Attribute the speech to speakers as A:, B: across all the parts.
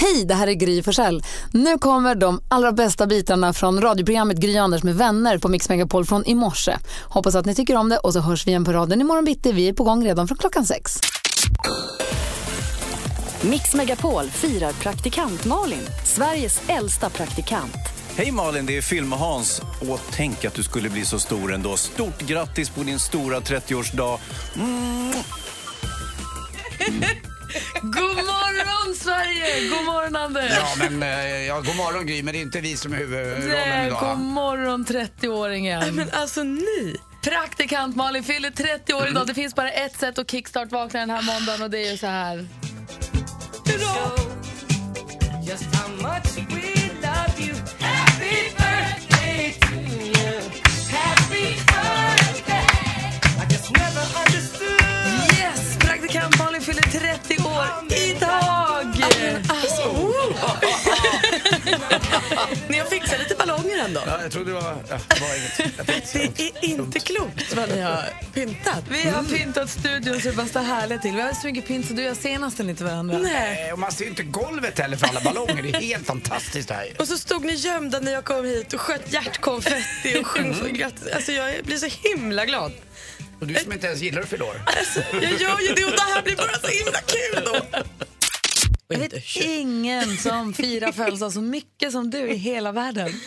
A: Hej, det här är Gry Forssell. Nu kommer de allra bästa bitarna från radioprogrammet Gry Anders med vänner på Mix Megapol från i morse. Hoppas att ni tycker om det och så hörs vi igen på raden imorgon bitti. Vi är på gång redan från klockan sex.
B: Mix Megapol firar praktikant Malin, Sveriges äldsta praktikant.
C: Hej Malin, det är Film-Hans. Åh, tänk att du skulle bli så stor ändå. Stort grattis på din stora Mm. 30-årsdag.
A: God morgon Sverige! God morgon Anders!
D: Ja, men eh, ja, god morgon Gry, men det är inte vi som är huvudrollen
A: Nej, god
D: idag.
A: morgon 30-åringen. Men alltså ni. Praktikant Malin fyller 30 år idag. Det finns bara ett sätt att kickstart vakna den här måndagen och det är ju så här. Yes! Praktikant Malin fyller 30 år idag! Alltså, oh.
E: Alltså. Ni har fixat lite ballonger ändå.
D: Ja, jag trodde det var... Ja, det var inget. Jag tänkte-
E: Det är inte klokt vad ni har pyntat.
A: Vi har pyntat studion så det bara står härliga till. Vi har så mycket pynt så du och jag ser nästan inte varandra.
E: Nej.
D: Eh, Och man ser ju inte golvet heller för alla ballonger. Det är helt fantastiskt det här.
E: Och så stod ni gömda när jag kom hit och sköt hjärtkonfetti och sjöng så grattis. Alltså jag blir så himla glad.
D: Mm. Och du som inte ens gillar att fylla år.
E: Alltså, jag gör ju det och det här blir bara så himla kul då.
A: Jag vet ingen som firar födelsedag så mycket som du i hela världen.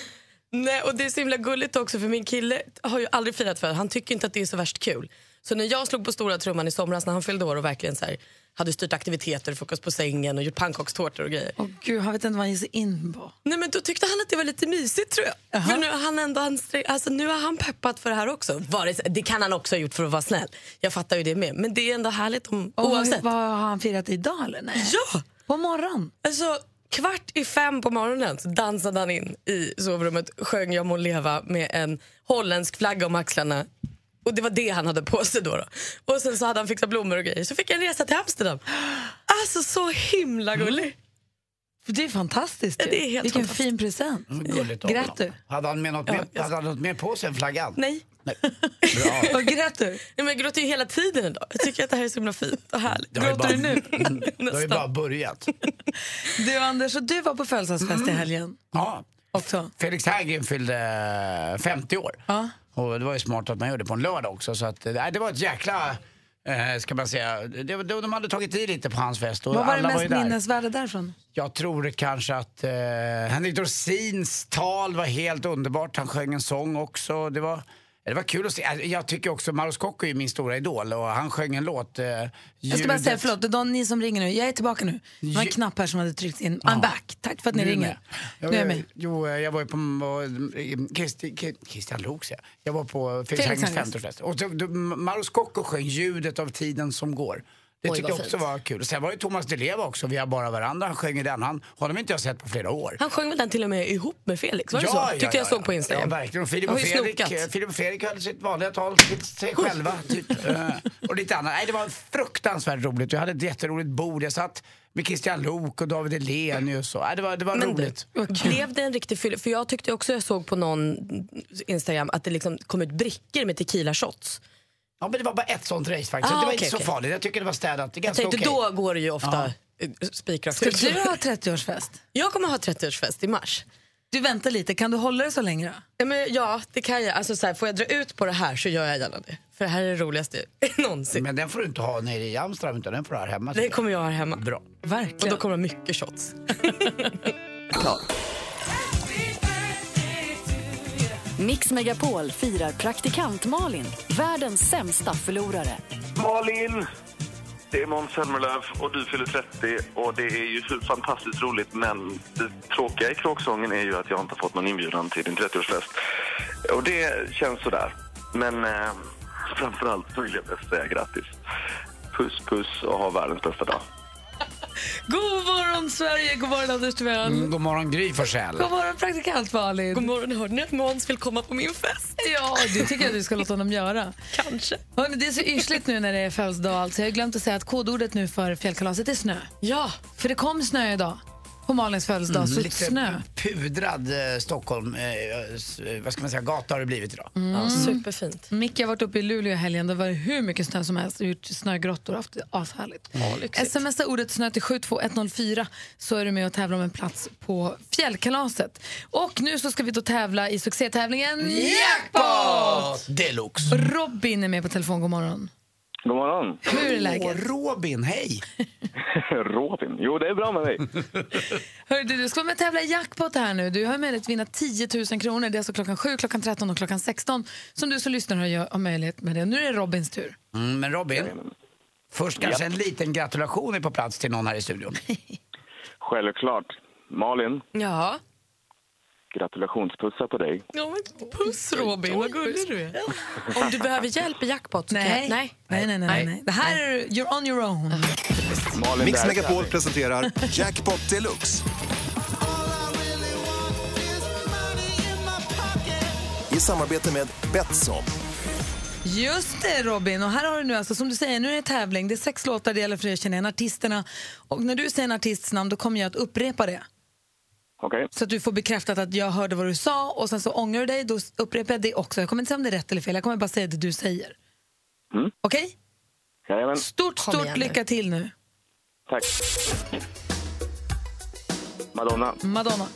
E: Nej, och det är så himla gulligt också för min kille har ju aldrig firat för Han tycker inte att det är så värst kul. Så när jag slog på stora trumman i somras när han fyllde år och verkligen så här, hade styrt aktiviteter, frukost på sängen och gjort pannkakstårtor och grejer.
A: Åh gud, han vet inte vad han ger sig in på.
E: Nej men då tyckte han att det var lite mysigt tror jag. För nu har han ändå ansträngt, alltså nu har han peppat för det här också. Vare sig- Det kan han också ha gjort för att vara snäll. Jag fattar ju det med. Men det är ändå härligt om,
A: Och
E: oavsett.
A: Vad, vad har han firat idag eller? Nej.
E: Ja!
A: På morgon?
E: Alltså kvart i fem på morgonen så dansade han in i sovrummet, sjöng Jag må leva med en holländsk flagga om axlarna. Och det var det han hade på sig då. då. Och sen så hade han fixat blommor och grejer. Så fick jag en resa till Amsterdam. Alltså så himla gullig.
A: För Mm. Det är fantastiskt ju.
E: Ja, det är helt
A: Vilken
E: fantastiskt. Mm.
A: fin present.
D: Gulligt av
A: Grät
D: honom.
A: du?
D: Hade han med något, med, hade han något mer på sig än flaggan?
E: Nej.
D: Nej. Bra.
A: Vad grät du?
E: Nej, men jag gråter ju hela tiden idag. Jag tycker att det här är så himla fint och härligt.
D: har ju
E: Gråter du
D: bara-
E: nu?
D: Då har vi
E: Nästan.
D: bara börjat.
A: Du Anders, och du var på födelsedagsfest
E: Mm.
A: i helgen
D: Ja.
A: också.
D: Felix Herngren fyllde eh, 50 år.
A: Ja.
D: Och det var ju smart att man gjorde det på en lördag också. Så att, eh, det var ett jäkla, eh, ska man säga, det, var- de hade tagit i lite på hans fest. Och
A: Vad var det
D: alla var
A: mest
D: ju där.
A: minnesvärda därifrån?
D: Jag tror kanske att eh, Henrik Dorsins tal var helt underbart. Han sjöng en sång också. Det var, det var kul att se. Alltså, Jag tycker också Maros Scocco är ju min stora idol och han sjöng en låt. Eh,
A: Jag ska bara säga
D: ljudet-
A: förlåt, de, ni som ringer nu, jag är tillbaka nu. Det var en
D: Ju-
A: knapp här som hade tryckts in. I'm back, tack för att ni
D: Nu är
A: ringer. Nu
D: jag
A: är jag
D: med.
A: med.
D: Jag- Jo, eh, jag var ju på var- Kristi- Ki- Christian Lok, säger jag. Jag var på Felix
A: Felix
D: Herngers
A: Herngers.
D: 50-årsfest. Och så- då- Mauro Scocco sjöng Ljudet av tiden som går. Det tyckte jag också var kul. Sen var det Thomas Di Leva också, Vi har bara varandra. Han sjöng i den. Han, honom har inte jag sett på flera år.
E: Han sjöng väl den till och med ihop med Felix? Var det liksom så? Tyckte jag såg på Instagram.
D: Ja, verkligen. Och Filip
E: Jag
D: och,
E: har ju
D: Fredrik,
E: snokat.
D: eh, Filip och Fredrik höll sitt vanliga tal till sig själva. Typ. Eh, och lite annat. Nej, det var fruktansvärt roligt. Jag hade ett jätteroligt bord. Jag satt med Christian Lok och David Hellenius. Och, nej, det var, det var roligt.
E: Blev det en riktig fylla? För jag tyckte också jag såg på någon Instagram att det liksom kom ut brickor med tequila shots.
D: Ja, men det var bara ett sånt race faktiskt.
E: Ah,
D: det var
E: okej,
D: inte så
E: okej.
D: farligt. Jag tycker det var städat. Det är
E: Jag
D: ganska
E: tänkte
D: okej.
E: då går det ju ofta ja. spikrakt ut.
A: Du har 30-årsfest.
E: Jag kommer ha 30-årsfest i mars.
A: Du väntar lite, kan du hålla det så länge då?
E: Ja, men ja, det kan jag. Alltså, så här, får jag dra ut på det här så gör jag gärna det. För det här är det roligaste någonsin.
D: Men den får du inte ha nere i Amsterdam utan den får du ha här hemma.
E: Det kommer jag ha här hemma.
D: Bra.
E: Och
A: Verkligen.
E: då kommer det mycket shots.
B: Mix Megapol firar praktikant Malin, världens sämsta förlorare.
F: Malin! Det är Måns Zelmerlöw och du fyller 30 och det är ju så fantastiskt roligt men det tråkiga i kråksången är ju att jag inte har fått någon inbjudan till din 30-årsfest. Och det känns sådär. Men eh, framförallt så vill jag bäst säga grattis. Puss puss och ha världens bästa dag.
A: God morgon Sverige, god morgon Anders Timell.
D: Mm, god morgon Gry Forssell.
A: God morgon praktikant Malin.
E: God morgon, hörde ni att Måns vill komma på min fest?
A: Ja, det tycker jag du ska låta honom göra.
E: Kanske.
A: Hörrni, det är så yrsligt nu när det är födelsedag alltså. Jag har glömt att säga att kodordet nu för fjällkalaset är snö.
E: Ja. Mm,
A: För det kom snö idag. På Malins födelsedag, så
D: Mm. lite
A: snö.
D: pudrad eh, Stockholm, eh, s- eh, vad ska man säga, gata har det blivit idag.
E: Ja, superfint.
A: Mm. Micke har varit uppe i Luleå i helgen. Det var det hur mycket snö som helst. och Gjort snögrottor och haft det ashärligt. Smsa ordet snö till 72104 så är du med och tävlar om en plats på fjällkalaset. Och nu så ska vi då tävla i succétävlingen
D: Jackpot! Deluxe.
A: Robin är med på telefon. God morgon.
G: God morgon.
A: Hur är läget?
D: Åh, Robin, hej!
G: Robin. Jo, det är bra med mig.
A: Hörru, du, du ska vara med och tävla i jackpot här nu. Du har möjlighet att vinna 10 000 kronor. Det är alltså klockan 7, klockan 13 och klockan 16 som du som lyssnar har, gör- har möjlighet med det. Nu är det Robins tur.
D: Mm, men Robin, först kanske en liten gratulation är på plats till någon här i studion.
G: Självklart. Malin,
E: Ja.
G: gratulationspussar på dig.
E: Ja, men puss Robin, vad gullig du är. Om du behöver hjälp i jackpot så kan jag-
A: nej, nej, nej, nej, nej. Det här är you're on your own.
G: Malin,
H: Mix
G: där-
H: Megapol presenterar Jackpot Deluxe. I samarbete med Betsson.
A: Just det Robin, och här har du nu alltså som du säger, nu är det tävling. Det är sex låtar det gäller för dig att känna igen artisterna. Och när du säger en artists namn då kommer jag att upprepa det.
G: Okej.
A: Så att du får bekräftat att jag hörde vad du sa och sen så ångrar du dig, då upprepar jag det också. Jag kommer inte säga om det är rätt eller fel, jag kommer bara säga det du säger.
G: Mm.
A: Okej?
G: Jajamän.
A: Stort,
E: Kom
A: stort
E: igen nu.
A: lycka till nu.
G: Tack. Madonna.
A: Madonna.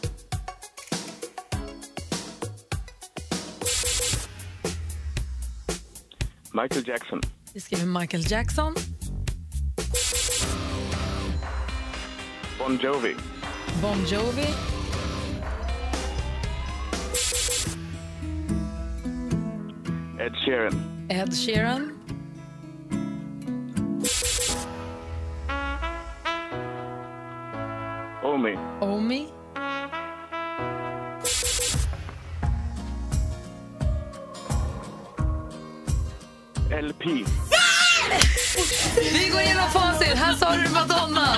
G: Michael Jackson.
A: Vi skriver Michael Jackson,
G: Bon Jovi.
A: Bon Jovi,
G: Ed Sheeran.
A: Ed Sheeran,
G: Omi.
A: Omi,
G: LP.
A: Vi går igenom facit. Här sa du Madonna.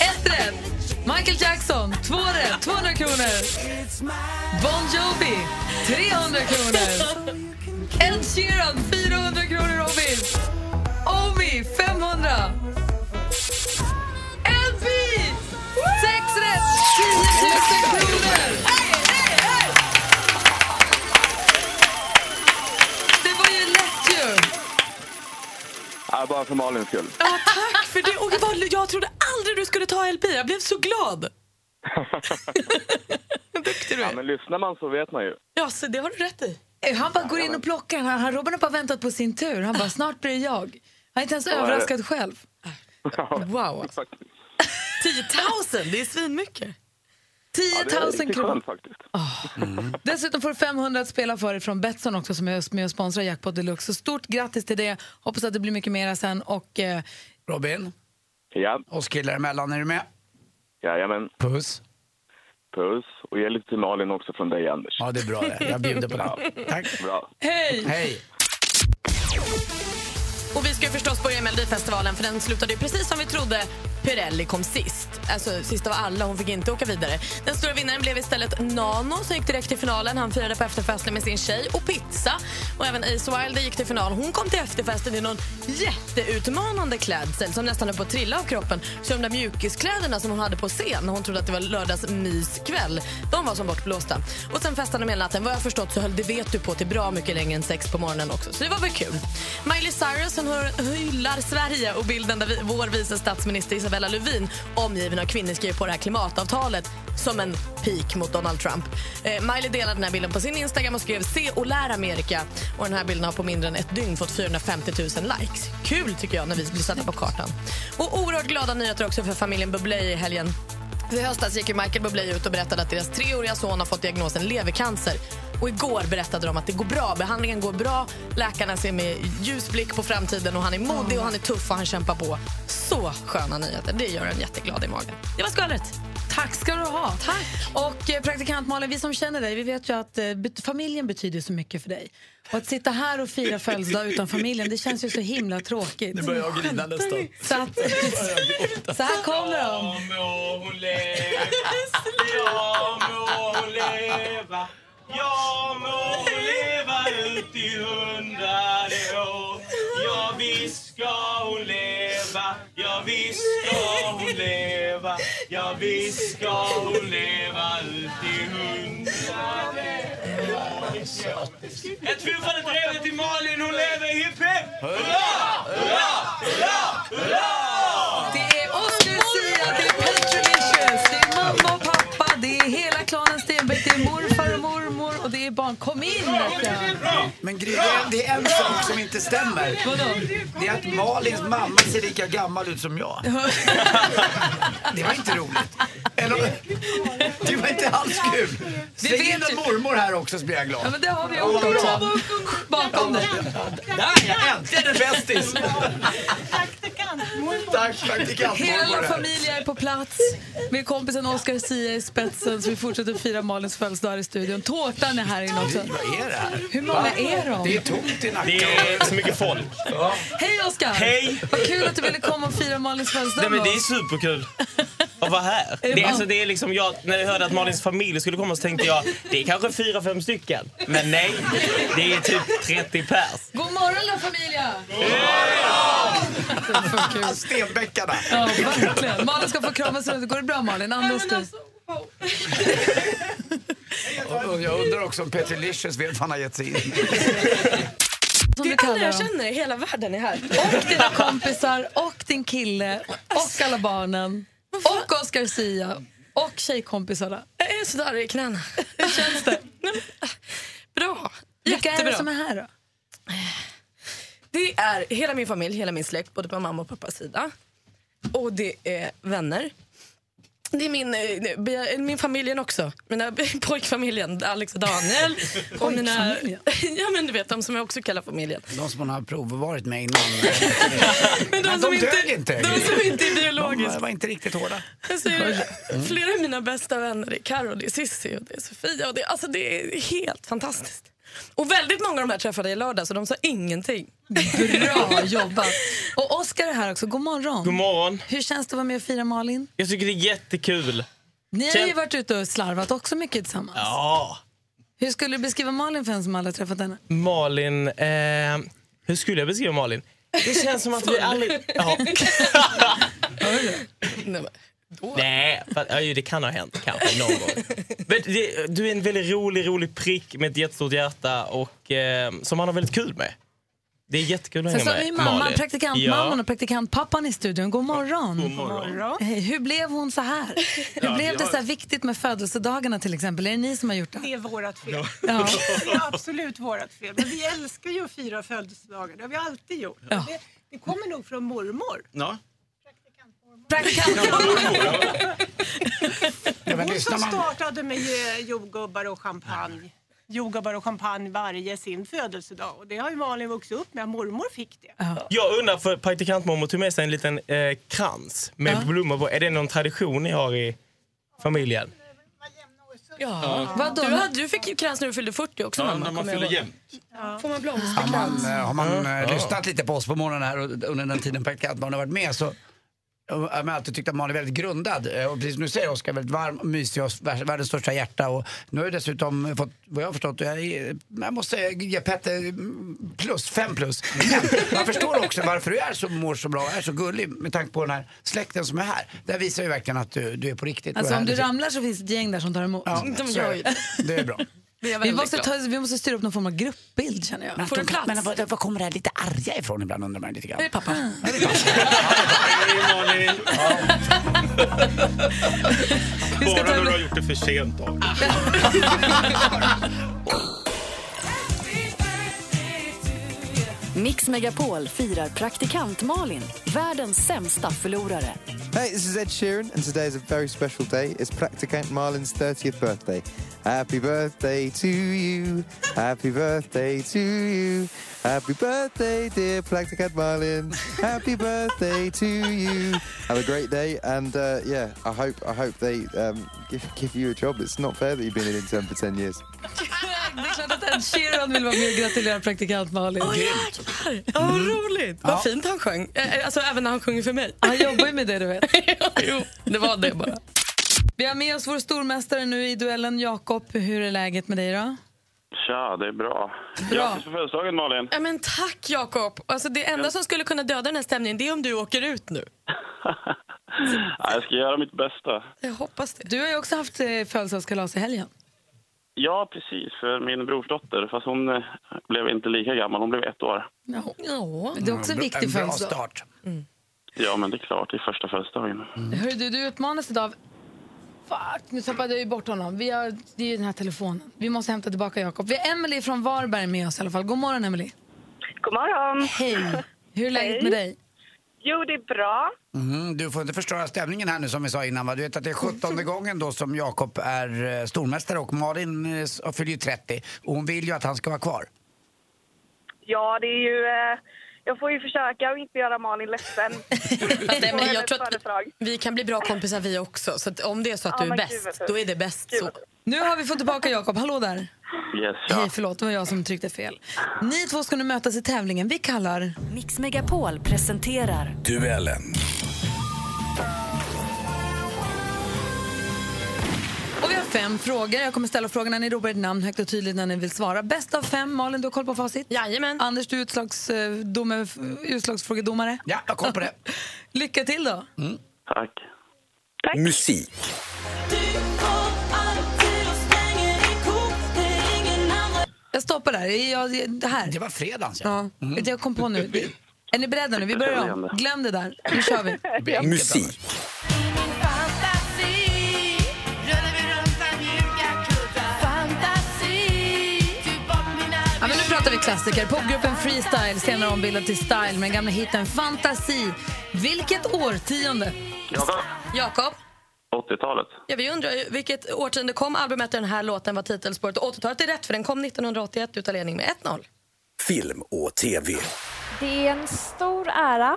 A: Ett rätt. Michael Jackson. Två rätt. 200 kronor. Bon Jovi. 300 kronor. Ed Sheeran. 400 kronor, Robin. Omi. 500. LP. Sex rätt. 10 000 kronor. Det var ju lätt ju.
G: Ja, bara för Malins skull.
E: Ja, tack för det. Och vad, jag trodde aldrig du skulle ta LP. Jag blev så glad. Vad duktig du
G: Ja,
E: är.
G: men lyssnar man så vet man ju.
E: Ja, så det har du rätt i.
A: Eh, Han bara går in och plockar den. Han, han- Robin har bara väntat på sin tur. Han bara, snart blir det jag. Han är inte ens
G: är det.
A: överraskad själv.
E: Wow.
G: Faktiskt.
E: 10 000, det är svinmycket.
A: 10
G: Det är
A: 000
G: riktigt
A: kronor.
G: skönt faktiskt.
I: Mm.
A: Dessutom får du 500 att spela för dig från Betsson också som är med och sponsrar Jackpot Deluxe. Så stort grattis till det. Hoppas att det blir mycket mera sen. Och, eh,
D: Robin,
G: Ja,
D: oss killar emellan, är du med?
G: jajamän.
D: Puss.
G: Puss. Och ge lite till Malin också från dig, Anders.
D: Ja, det är bra det. Jag bjuder på det. Tack.
G: Bra.
A: hej!
D: Hej.
E: Och vi ska ju förstås börja i Melodifestivalen för den slutade ju precis som vi trodde. Pirelli kom sist. Alltså sist av alla, hon fick inte åka vidare. Den stora vinnaren blev istället Nano som gick direkt till finalen. Han firade på efterfesten med sin tjej och pizza. Och även Ace Wilder gick till final. Hon kom till efterfesten i någon jätteutmanande klädsel som nästan höll på att trilla av kroppen. Så de där mjukiskläderna som hon hade på scen när hon trodde att det var lördagsmyskväll, de var som bortblåsta. Och sen festade de hela natten. Vad jag har förstått så höll det vet du på till bra mycket längre än sex på morgonen också. Så det var väl kul. Miley Cyrus hon hör- hyllar Sverige och bilden där vi, vår vice statsminister Isabella Lövin omgiven av kvinnor skriver på det här klimatavtalet som en pik mot Donald Trump. Eh, Miley delade den här bilden på sin Instagram och skrev “Se och lär Amerika” och den här bilden har på mindre än ett dygn fått 450 000 likes. Kul tycker jag när vi blir satta på kartan. Och oerhört glada nyheter också för familjen Bublé i helgen. För I höstas gick ju Michael Bublé ut och berättade att deras treåriga son har fått diagnosen levercancer. Och igår berättade de att det går bra. Behandlingen går bra. Läkarna ser med ljus blick på framtiden och han är modig och han är tuff och han kämpar på. Så sköna nyheter. Det gör en jätteglad i magen. Det var skvallret.
A: Tack ska du ha. Tack. Och eh, praktikant Malin, vi som känner dig, vi vet ju att eh, bet- familjen betyder så mycket för dig. Och att sitta här och fira födelsedag utan familjen, det känns ju så himla tråkigt.
I: Nu börjar jag grina nästan.
A: Så, att, så här kommer de.
J: Ja må hon leva ut i hundrade år Ja visst ska hon leva Ja visst ska hon leva Ja visst ska hon leva ut i hundrade år Ett fyrfaldigt brev till Malin, hon lever hipp hipp! Hurra! Hurra! Hurra! Hurra!
A: Det är oss Lucia, det är Petrovicius, det är mamma och pappa, det är hela klanen Stenbeck, det är morfar och mormor och det är barn. Kom in! vet jag.
D: Men Gry, det är- det är en sak som inte stämmer. Det är att Malins mamma ser lika gammal ut som jag. Det var inte roligt. Eller, det var inte alls kul. Släng in en mormor här också så blir jag glad.
A: Ja, men det har vi
D: Ja, vad
A: också.
D: bra.
A: Bakom dig.
D: Där ja, äntligen en bästis! Tack
A: Hela
D: praktikantmormor.
A: familjen är på plats med kompisen Oscar Sia i spetsen så vi fortsätter fira Malins födelsedag här i studion. Tårtan är här inne också.
D: Vad är det här?
A: Hur många är de?
D: Det är tomt i Nacka.
I: Det är så mycket folk.
A: Hej Oscar!
I: Hej!
A: Vad kul att du ville komma och fira Malins
I: Nej,
A: födelsedag
I: men det
A: med
I: är
A: oss.
I: superkul att vara här.
A: det
I: Det är,
A: bra?
I: alltså, det är liksom jag, när jag hörde att Malins familj skulle komma så tänkte jag det är kanske fyra, fem stycken. Men nej, det är typ 30 pers.
A: God morgon då familjen!
D: Stenbäckarna.
A: Ja, verkligen. Malin ska få kramas runt. Går det bra Malin? Andas du?
D: Och Jag undrar också om Peter Licious vet vad han har gett sig in i.
A: Det
E: är alla jag känner i hela världen är här.
A: Och dina kompisar och din kille
E: Alltså.
A: och alla barnen och Oscar Sia och tjejkompisarna.
E: Jag är sådär i knäna.
A: Hur känns det?
E: Bra.
A: Vilka är det
E: Jättebra.
A: som är här då?
E: Det är hela min familj, hela min släkt, både på mamma och pappas sida. Och det är vänner. Det är min, eh, be- eh, min familjen också. Mina pojkfamiljen, Alex och Daniel. och mina,
D: Pojkfamiljen?
E: ja men du vet, de som jag också kallar familjen.
D: De som man har provvarit med innan. Men de,
E: som inte-
D: dög inte.
E: de som inte är biologiska.
D: De eh, var inte riktigt hårda.
E: Alltså, jag- flera av mina bästa vänner är Karo, det är Cissi och det är Sofia. Och det, alltså, det är helt fantastiskt. Och väldigt många av de här träffade jag i lördag så de sa ingenting.
A: Bra jobbat! Och Oscar är här också. God morgon.
I: God morgon.
A: Hur känns det att vara med och fira Malin?
I: Jag tycker det är jättekul.
A: Ni har
I: Känn-
A: ju varit ute och slarvat också mycket tillsammans.
I: Ja.
A: Hur skulle du beskriva Malin för en som aldrig har träffat henne?
I: Malin, eh, hur skulle jag beskriva Malin? Det känns som att vi aldrig... Ja. Nej, för, ja, ju, det kan ha hänt kanske någon gång. Men det, du är en väldigt rolig, rolig prick med ett jättestort hjärta och eh, som man har väldigt kul med. Det är jättekul att
A: Sen
I: hänga
A: så har
I: med
A: vi mamman,
I: Malin.
A: praktikantmamman
I: Ja.
A: och praktikantpappan i studion. God morgon.
I: God morgon. God
A: Hej, hur blev hon så här? Hur
K: Ja,
A: blev
K: vi
A: det
K: har-
A: så här viktigt med födelsedagarna till exempel? Är det ni som har gjort det?
K: Det är vårt fel.
A: Ja.
K: Det är absolut vårt fel. Men vi älskar ju att fira födelsedagar. Det har vi alltid gjort.
A: Ja.
K: Det, det kommer nog från mormor.
I: Ja.
D: men
K: Hon
D: lyssnar
K: som
D: man-
K: startade med eh, jordgubbar och champagne. Jordgubbar och champagne varje sin födelsedag. Och det har ju Malin vuxit upp med. Mormor fick det.
I: Jag undrar, för praktikantmamma tog med sig en liten eh, krans med blommor på. Är det någon tradition ni har i familjen?
E: Ja.
A: Vadå?
E: Du, hade- du fick ju krans när du fyllde 40 också mamma. kommer jag ihåg. Får man
D: Har
E: blomsterkrans?
D: man, eh, har man eh,
E: Mm. Ja.
D: lyssnat lite på oss på morgonen här och under den tiden praktikantbarnen har varit med så jag har man alltid tyckt att Malin är väldigt grundad. Eh, Och precis som du säger Oskar, väldigt varm och mysig och vär- världens största hjärta. Och nu har jag dessutom fått, vad jag har förstått, jag, är- jag måste ge Petter mm, plus, fem plus. Men man förstår också varför du är så, mår så bra och är så gullig med tanke på den här släkten som är här. Där visar ju verkligen att du, du är på riktigt.
A: Alltså
D: och är
A: om du
D: härlig.
A: ramlar så finns ett gäng där som tar emot. Mm,
D: Ja, De så gör är ju det. Det är bra.
E: Vi,
A: vi, måste ta, vi måste styra upp någon form av gruppbild känner jag.
D: Får du plats? Men var, var kommer det här lite arga ifrån ibland undrar man lite grann.
A: Är det pappa?
L: Bara när du har gjort det för sent. Då.
B: Mix Megapol firar praktikant Malin, världens sämsta förlorare.
M: Hey, this is Ed Sheeran, and today is a very special day. It's Practicant Marlin's 30th birthday. Happy birthday to you. Happy birthday to you. Happy birthday, dear Practicant Marlin. Happy birthday to you. Have a great day, and uh, yeah, I hope I hope they um, give, give you a job. It's not fair that you've been an intern for 10 years.
A: Det är klart att Ed Sheeran vill vara med och gratulera praktikant Malin.
E: Åh, jäklar! Ja, vad roligt! Vad fint han sjöng. Eh, Alltså, även när han sjunger för mig.
A: Han jobbar ju med det, du vet.
E: jo, det var det bara.
A: Vi har med oss vår stormästare nu i duellen. Jakob, hur är läget med dig då?
L: Tja, det är bra. Grattis på födelsedagen, Malin.
E: Ja, men tack, Jakob. Alltså, det enda som skulle kunna döda den här stämningen det är om du åker ut nu.
L: Ja, jag ska göra mitt bästa.
E: Jag hoppas det.
A: Du har ju också haft eh, födelsedagskalas i helgen.
L: Ja, precis. För min brorsdotter, fast hon eh, blev inte lika gammal. Hon blev ett år.
A: Ja. Det är också en
D: Mm,
L: bra-
A: viktig
L: en bra
A: födelsedag.
L: start.
A: Mm.
L: Ja, men det är klart. Det är första födelsedagen.
A: Hörru du, du uppmanas idag av... Fuck, nu tappade jag ju bort honom. Vi har, det är ju den här telefonen. Vi måste hämta tillbaka Jakob. Vi har Emily från Varberg med oss i alla fall. God morgon, Emily.
N: God morgon.
A: Hej. Hur är läget
N: Um, Hej.
A: med dig?
N: Jo, det är bra.
D: Mhm, du får inte förstöra stämningen här nu som vi sa innan va? Du vet att det är 17 gången då som Jakob är eh, stormästare och Malin eh, s- fyller ju 30 och hon vill ju att han ska vara kvar.
N: Ja, det är ju... Eh, jag får ju försöka och inte göra Malin ledsen.
E: Fast, nej, men
N: Får
E: jag tror
N: hennes
E: att vi kan bli bra kompisar vi också. Så att om det är så att
A: Ja,
E: du är
A: men gud,
E: bäst,
A: vad fint.
E: då är det bäst så.
A: Nu har vi fått tillbaka Jakob. Hallå där.
L: Yes,
A: Hej, förlåt. Det var jag som tryckte fel. Ni två ska nu mötas i tävlingen vi kallar...
B: Mix Megapol presenterar
D: Duellen.
A: Och vi har fem frågor. Jag kommer ställa frågorna. Ni ropar ert namn högt och tydligt när ni vill svara. Bäst av fem. Malin, du har koll på facit? Jajamän. Anders, du är utslags, eh, dome- f- utslagsfrågedomare.
D: Ja, jag koll på det. Mm.
A: Lycka till då.
L: Tack.
A: Tack.
L: Musik.
A: Jag stoppar där. Jag, jag- det här. Det
D: var fredagens,
A: ja.
D: Mm.
A: Jag kom på nu. Vi- Är ni beredda nu? Vi börjar om. Glöm det där. Nu kör vi.
J: Musik.
A: Ja, men nu pratar vi klassiker. Popgruppen Freestyle, senare ombildad till Style med den gamla hiten Fantasi. Vilket årtionde?
L: Jakob.
E: Jakob,
L: 80-talet.
E: ja, vi undrar ju, vilket årtionde kom albumet där den här låten var titelspåret? Och 80-talet är rätt, för den kom 1981. Du tar ledning med 1-0.
O: Film och TV.
P: Det är en stor ära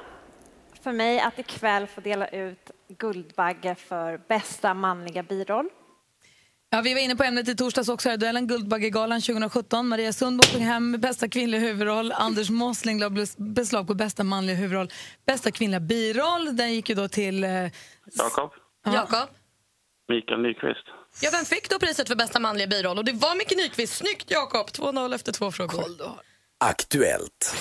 P: för mig att ikväll få dela ut Guldbagge för bästa manliga biroll.
A: Ja, vi var inne på ämnet i torsdags också, här i duellen Guldbaggegalan 2017. Maria Sundborg tog hem bästa kvinnliga huvudroll. Anders Mossling la bes- beslag på bästa manliga huvudroll. Bästa kvinnliga biroll, den gick ju då till... Eh,
L: Jakob.
E: Jakob.
L: Mikael Nyqvist.
E: Ja, vem fick då priset för bästa manliga biroll? Och det var Micke Nyqvist. Snyggt, Jakob! 2-0 efter två frågor.
Q: Aktuellt.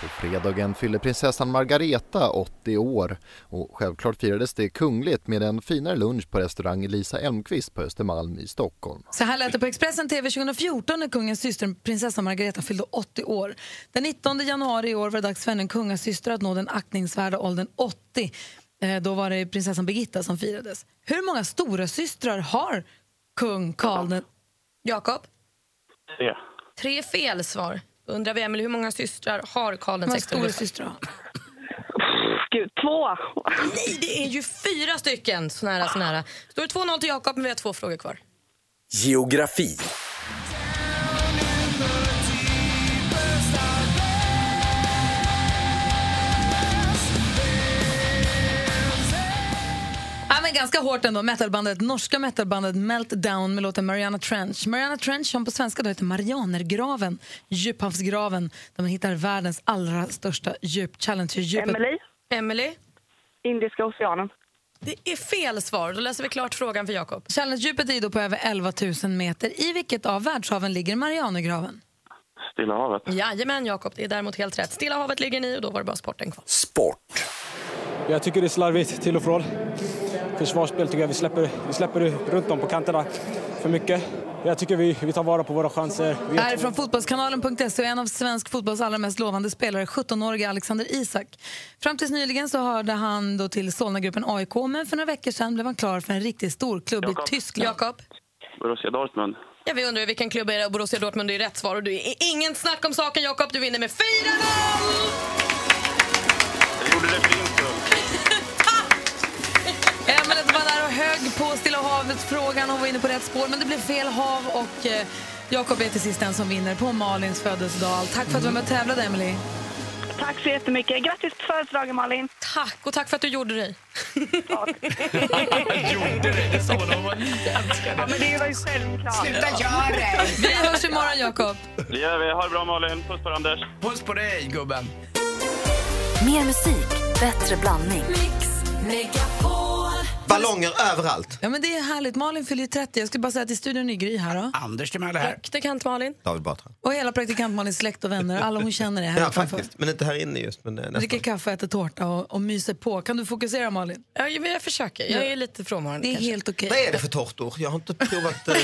Q: På fredagen fyller prinsessan Margareta 80 år och självklart firades det kungligt med en finare lunch på restaurang Elisa Elmqvist på Östermalm i Stockholm.
A: Så här lät det på Expressen TV 2014 när kungens syster prinsessan Margareta fyllde 80 år. Den 19 januari i år var det dags för henne, kungens syster, att nå den aktningsvärda åldern 80. Eh, då var det prinsessan Birgitta som firades. Hur många stora systrar har kung Karl den...
E: Jakob?
L: Tre.
E: Tre fel svar. Då undrar vi, Emil, hur många systrar har Karl
A: Hur
E: den
A: många
E: sextonde?
A: storasystrar
E: Gud, två! Nej, det är ju fyra stycken! Så nära, så nära. Står det 2-0 till Jakob, men vi har två frågor kvar.
O: Geografi.
A: Ja, men ganska hårt ändå. Metalbandet, norska metalbandet Meltdown med låten Mariana Trench. Mariana Trench som på svenska då heter Marianergraven, djuphavsgraven där man hittar världens allra största djup. Challenger-djupet.
E: Emily? Emily? Indiska oceanen. Det är fel svar. Då läser vi klart frågan för Jakob.
A: Challenger-djupet är då på över 11 000 meter. I vilket av världshaven ligger Marianergraven?
L: Stilla havet.
E: Jajamän, Jakob. Det är däremot helt rätt. Stilla havet ligger ni och då var det bara sporten kvar.
O: Sport.
R: Jag tycker det är slarvigt till och från. Försvarsspel tycker jag vi släpper, vi släpper runt dem på kanterna för mycket. Jag tycker vi, vi tar vara på våra chanser. Vi
A: Det här är från fotbollskanalen.se och en av svensk fotbolls allra mest lovande spelare, 17-årige Alexander Isak. Fram tills nyligen så hörde han då till Solnagruppen AIK, men för några veckor sedan blev han klar för en riktigt stor klubb i Tyskland.
L: Borussia Dortmund.
A: Ja, vi undrar vilken klubb är det? Borussia Dortmund är rätt svar. Och du är ingen snack om saken, Jakob. Du vinner med 4-0! Emelet Eh, var där och högg på Stilla havet-frågan. Hon var inne på rätt spår, men det blev fel hav. Och eh, Jakob är till sist den som vinner på Malins födelsedag. Tack för att du var med och tävlade, Emily.
N: Tack så jättemycket. Grattis på födelsedagen, Malin.
A: Tack, och tack för att du gjorde dig.
N: Ja, men det var ju självklart.
D: Sluta göra det!
A: Vi hörs imorgon, Jakob.
L: Det gör vi. Ha det bra Malin. Puss på dig, Anders.
D: Puss på dig gubben.
B: Mer musik, bättre blandning.
S: Ballonger överallt.
A: Ja, men det är härligt. Malin fyller ju 30. Jag skulle bara säga att i studion är Gry här. Då.
D: Anders till
S: Timell är här.
A: Praktikant Malin.
S: David Batra.
A: Och hela praktikant Malins släkt och vänner. Alla hon känner är här
S: Ja,
A: utanför.
S: faktiskt. Men inte här inne just. Men eh, nästan.
A: Dricker kaffe, äter tårta och, och myser på. Kan du fokusera, Malin? Ja, men jag försöker.
S: Jag är
A: lite frånvarande. Det är helt okej.
S: Vad är det för tårtor? Jag har inte provat. eh,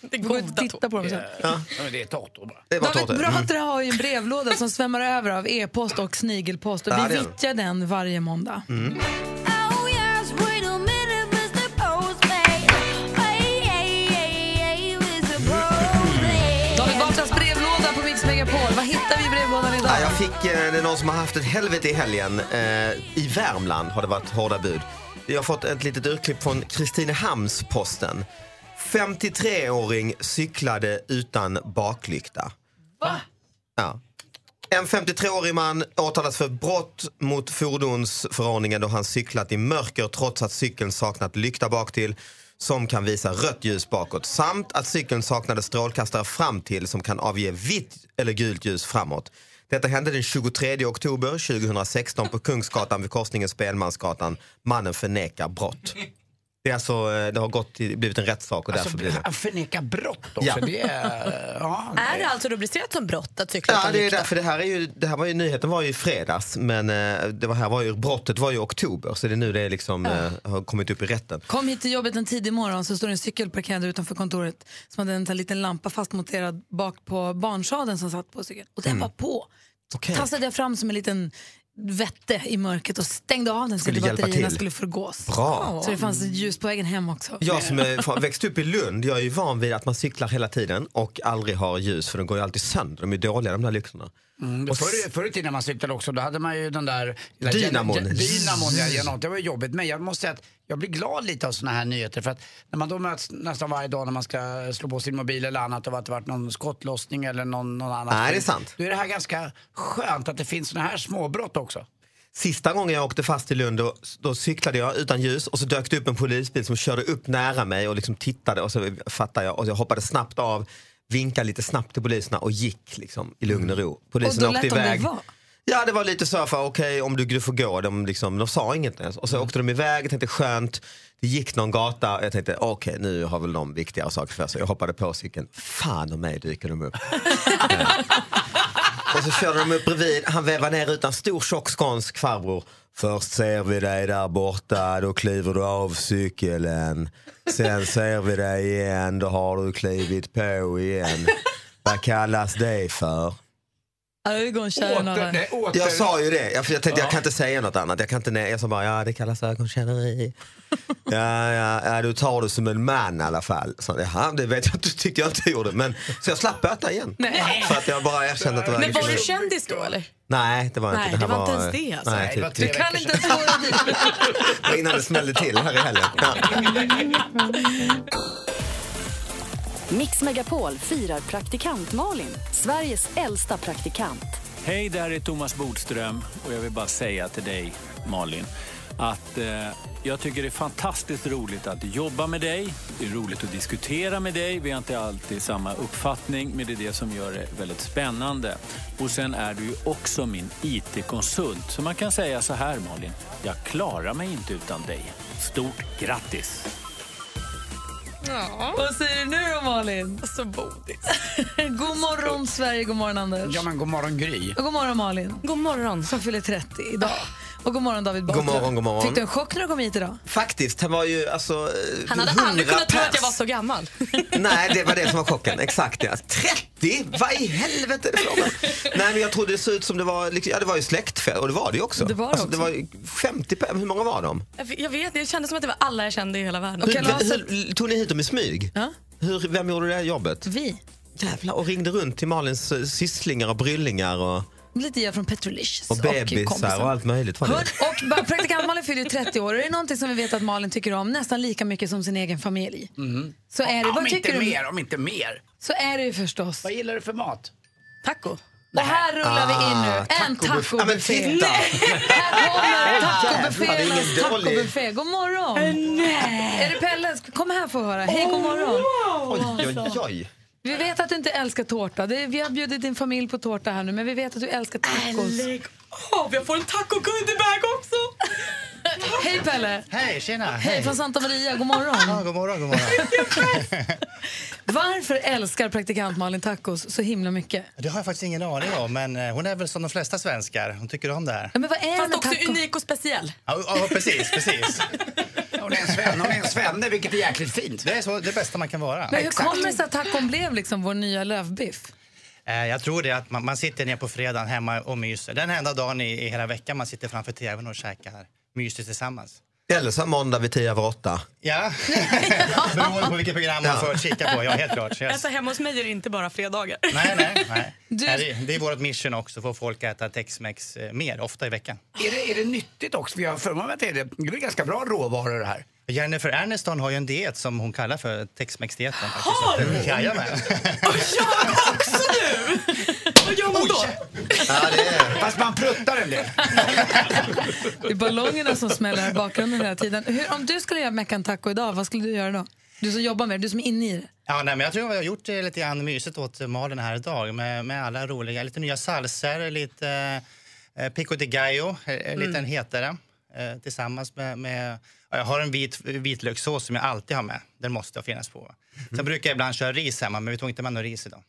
A: Det går ut och titta på dem sen.
S: ja.
D: men det är tårtor bara.
S: Det var tårtor.
A: David
S: Mm.
A: Batra har ju en brevlåda som svämmar över av e-post och snigelpost. Och
S: Ja, det
A: vi
S: är den.
A: vittjar den varje måndag.
S: Mm.
A: David Batras brevlåda på Mix Megapol. Vad hittar vi i brevlådan idag?
S: Ja, jag fick, eh, det är någon som har haft ett helvete i helgen. Eh, I Värmland har det varit hårda bud. Jag har fått ett litet urklipp från Kristinehamns-Posten. 53-åring cyklade utan baklykta.
A: Va?
S: Ja. En 53-årig man åtalas för brott mot fordonsförordningen då han cyklat i mörker trots att cykeln saknat lykta bak till som kan visa rött ljus bakåt samt att cykeln saknade strålkastare fram till som kan avge vitt eller gult ljus framåt. Detta hände den 23 oktober 2016 på Kungsgatan vid korsningen Spelmansgatan. Mannen förnekar brott. Det, är alltså, eh, det har gått till, blivit en rättssak och
T: Alltså,
S: därför blir det...
D: Han förnekar brott Alltså, också.
S: Ja.
D: Det är, ja,
A: Är det alltså rubricerat som brott att cykla
S: Ja,
A: utan
S: det är
A: lykta?
S: därför det här är ju, det här var ju, nyheten var ju i fredags men eh, det var här var ju, brottet var ju i oktober så det är nu det liksom eh, har kommit upp i rätten.
A: Kom hit till jobbet en tidig morgon så står det en cykel parkerad utanför kontoret som hade en sån här liten lampa fastmonterad bak på barnsadeln som satt på cykeln. Och den
S: Mm.
A: var på. Tassade jag fram som en liten vette i mörkret och stängde av den så
S: Skulle
A: att
S: hjälpa
A: batterierna
S: till.
A: skulle förgås.
S: Bra.
A: Så det fanns ett ljus på vägen hem också.
S: Jag som är från- växt upp i Lund, jag är ju van vid att man cyklar hela tiden och aldrig har ljus för de går ju alltid sönder, de är dåliga de där lyktorna.
D: Mm, det förr, förr i tiden när man cyklade också, då hade man ju den där... lilla
S: Dynamon.
D: gen- gen- Dynamon, ja,
T: Mm.
D: genom, det var ju jobbigt. Men jag måste säga att jag blir glad lite av såna här nyheter. För att när man då möts nästan varje dag när man ska slå på sin mobil eller annat av att det varit någon skottlossning eller någon, någon annan...
S: Nej, det är
D: skit,
S: sant.
D: Då är det här ganska skönt att det finns såna här småbrott också.
S: Sista gången jag åkte fast i Lund då, då cyklade jag utan ljus och så dök det upp en polisbil som körde upp nära mig och liksom tittade och så fattade jag och jag hoppade snabbt av, vinkade lite snabbt till poliserna och gick liksom i lugn och ro. Polisen
A: Mm. och då
S: åkte
A: lät de dig
S: iväg.
A: vara.
S: Ja, det var lite så här för okej om du, du får gå. De, liksom, de sa inget ens. Och
A: Mm.
S: så åkte de iväg, jag tänkte skönt. Det gick någon gata, jag tänkte okej nu har väl de viktigare saker för sig. Jag hoppade på cykeln, fan om mig dyker de upp. Eh. och så körde de upp bredvid, han vevade ner utan stor tjock skånsk farbror. Först ser vi dig där borta, då kliver du av cykeln. Sen ser vi dig igen, då har du klivit på igen. Vad kallas det för?
A: Ögonkärran.
S: Jag sa ju det, jag, för jag tänkte jag kan inte säga något annat. Jag, kan inte, nej. jag sa bara ja det kallas ögonkärleri. ja, ja, ja, du tar det som en man i alla fall. Så, Jaha, det vet jag inte, tyckte jag inte jag gjorde. Men, så jag slapp böta igen.
A: Nej.
S: För att jag bara erkände att det var liksom-
A: Men var du
S: ögonkärleri.
A: kändis då eller?
S: Nej det var inte.
A: Nej,
S: här
A: det var inte ens det, alltså.
S: Nej,
A: Nej,
S: typ.
A: det var tre Du kan veckor inte ens vara
S: Det var innan det smällde till här i helgen. Ja.
B: Mix Megapol firar praktikant Malin, Sveriges äldsta praktikant.
U: Hej, det här är Thomas Bodström och jag vill bara säga till dig, Malin, att eh, jag tycker det är fantastiskt roligt att jobba med dig. Det är roligt att diskutera med dig. Vi har inte alltid samma uppfattning, men det är det som gör det väldigt spännande. Och sen är du ju också min IT-konsult, så man kan säga så här, Malin, jag klarar mig inte utan dig. Stort grattis!
A: Ja. Vad säger du nu då Malin? Så bodis. god morgon Sverige, god morgon Anders.
D: Ja, men god morgon Gry.
A: Och god morgon Malin. God morgon. Som fyller 30 idag.
D: Ah.
A: Och god morgon David Batra.
S: God morgon, god morgon.
A: Fick du en chock när du kom hit idag?
S: Faktiskt, han var ju alltså... eh,
A: Han hade aldrig
S: 100
A: kunnat tro att jag
S: pers.
A: var så gammal.
S: Nej, det var det som var chocken. Exakt ja. 30? Vad i helvete är det för något? Nej, men jag trodde det såg ut som det var, liksom, ja det var ju släktfest och det var det ju också.
A: Det var det
S: alltså,
A: också.
S: det var ju 50, pe- hur många var de? alltså-
V: alltså,
A: Jag vet, det kändes som att det var alla jag kände i hela världen.
S: Hur, hur, tog ni hit dem i smyg?
A: Ja.
S: Hur, vem gjorde det här jobbet?
A: Vi.
S: Jävlar, och ringde runt till Malins eh, sysslingar och bryllingar och,
A: Lite jag från Petrolicious
S: och bebisar
A: kompisar.
S: och, allt möjligt. Var
A: Hör,
S: det.
A: och bara, praktikant Malin fyller ju 30 år. Är det någonting som vi vet att Malin tycker om nästan lika mycket som sin egen familj?
D: Mm.
A: Så är det.
D: Om
A: Vad
D: inte
A: tycker du?
D: mer, om inte mer.
A: Så är det ju förstås. Vad
D: gillar du för mat? Ah.
A: Taco. Och här rullar vi in
T: Ah,
A: nu en
D: tacobuff-
A: tacobuffé.
D: Ja, men titta!
A: Här kommer
S: Jävlar, det är
A: tacobufféernas
S: ingen dålig-
A: tacobuffé. God morgon! Nej. Är det Pelle? Kom här för att höra. Hej, god morgon!
S: Oj, oj,
A: Alltså.
S: oj.
A: Vi vet att du inte älskar tårta. Det- Vi har bjudit din familj på tårta här nu, men vi vet att du älskar tacos. Lägg av! Jag får en taco-goodiebag också! Hej Pelle!
T: Hej, tjena!
A: Hej, från Santa Maria, god morgon!
T: Ja, god morgon, god morgon.
A: Varför älskar praktikant Malin tacos så himla mycket?
T: Det har jag faktiskt ingen aning om, men eh, hon är väl som de flesta svenskar. Hon tycker om det här.
A: Ja, men vad är Fast
E: också unik och speciell.
T: Ja, ja precis, precis.
D: Hon är en svenne, hon är en svenne, vilket är jäkligt fint.
T: Det är så, det bästa man kan vara.
A: Men hur kommer det sig att tacon blev liksom vår nya lövbiff?
T: Eh, Jag tror det att man, man sitter ner på fredagen hemma och myser. Den enda dagen i, i hela veckan man sitter framför tvn och käkar myser tillsammans.
S: Eller så här alltså måndag vid tio över åtta.
T: Ja, beroende på vilket program man
S: Ja.
T: får kika på. Ja, helt klart. Yes.
V: Alltså, hemma hos mig är det inte bara fredagar.
T: Nej, nej, nej. Nej, det, det är vårt mission också, få folk att äta Tex-Mex eh, mer, ofta i veckan.
D: Är det, är det nyttigt också? För jag har för mig att det är, det. det är ganska bra råvaror det här.
T: Jennifer Aniston har ju en diet som hon kallar för Tex-Mex-dieten.
D: Har
T: faktiskt.
D: hon?
T: Jajamän.
D: Vad gör man då? Fast man pruttar en del.
A: Det är ballongerna som smäller här i bakgrunden hela tiden. Hur, om du skulle göra Meckan taco idag, vad skulle du göra då? Du som jobbar med det, du som är inne i det.
T: Ja, nej, men jag tror jag har gjort det lite grann mysigt åt eh, Malin här idag med, med alla roliga, lite nya salser, lite eh, pico de gallo, eh, eh, lite en hetare eh, tillsammans med, med ja, jag har en vit, vitlökssås som jag alltid har med. Den måste jag finnas på.
D: Mhm.
T: Sen brukar jag ibland köra ris hemma, men vi tog inte med någon ris idag.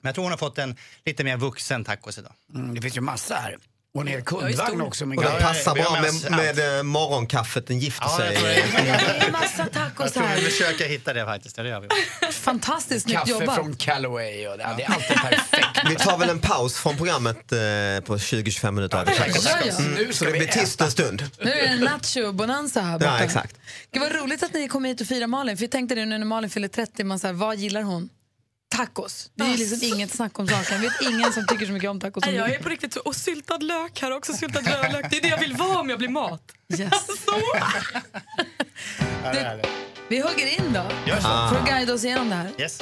T: Men jag tror hon har fått en lite mer vuxen tacos idag.
D: Mm, det finns ju massa här. Och en hel kundvagn också.
S: Och det passar bra med, med eh, morgonkaffet, den gifter
T: Ja,
S: sig.
T: jag tror det.
A: Massa
T: Jag
A: tacos
T: tror vi
A: här.
T: försöker hitta det faktiskt. Det gör vi.
A: Fantastiskt snyggt
D: Kaffe
A: jobbat.
D: från Callaway och det, ja, det är alltid perfekt.
S: Vi tar väl en paus från programmet eh, på 20-25 minuter.
A: Ja, ja.
S: Mm, så det blir tyst en stund.
A: Nu är det nacho-bonanza här borta.
S: Ja, exakt.
A: Gud, vad roligt att ni kom hit och firade Malin. För jag tänkte det nu när Malin fyller 30, man så här, vad gillar hon? Tacos. Det är ju liksom inget snack om saken. Jag vet ingen som tycker så mycket om tacos som
V: Nej, jag
A: du.
V: är på riktigt så... Och syltad lök här också, syltad rödlök. Det är det jag vill vara om jag blir mat. Alltså.
A: Vi hugger in då,
V: Gör så. Ah.
A: för att guida oss igenom det här.
T: Yes.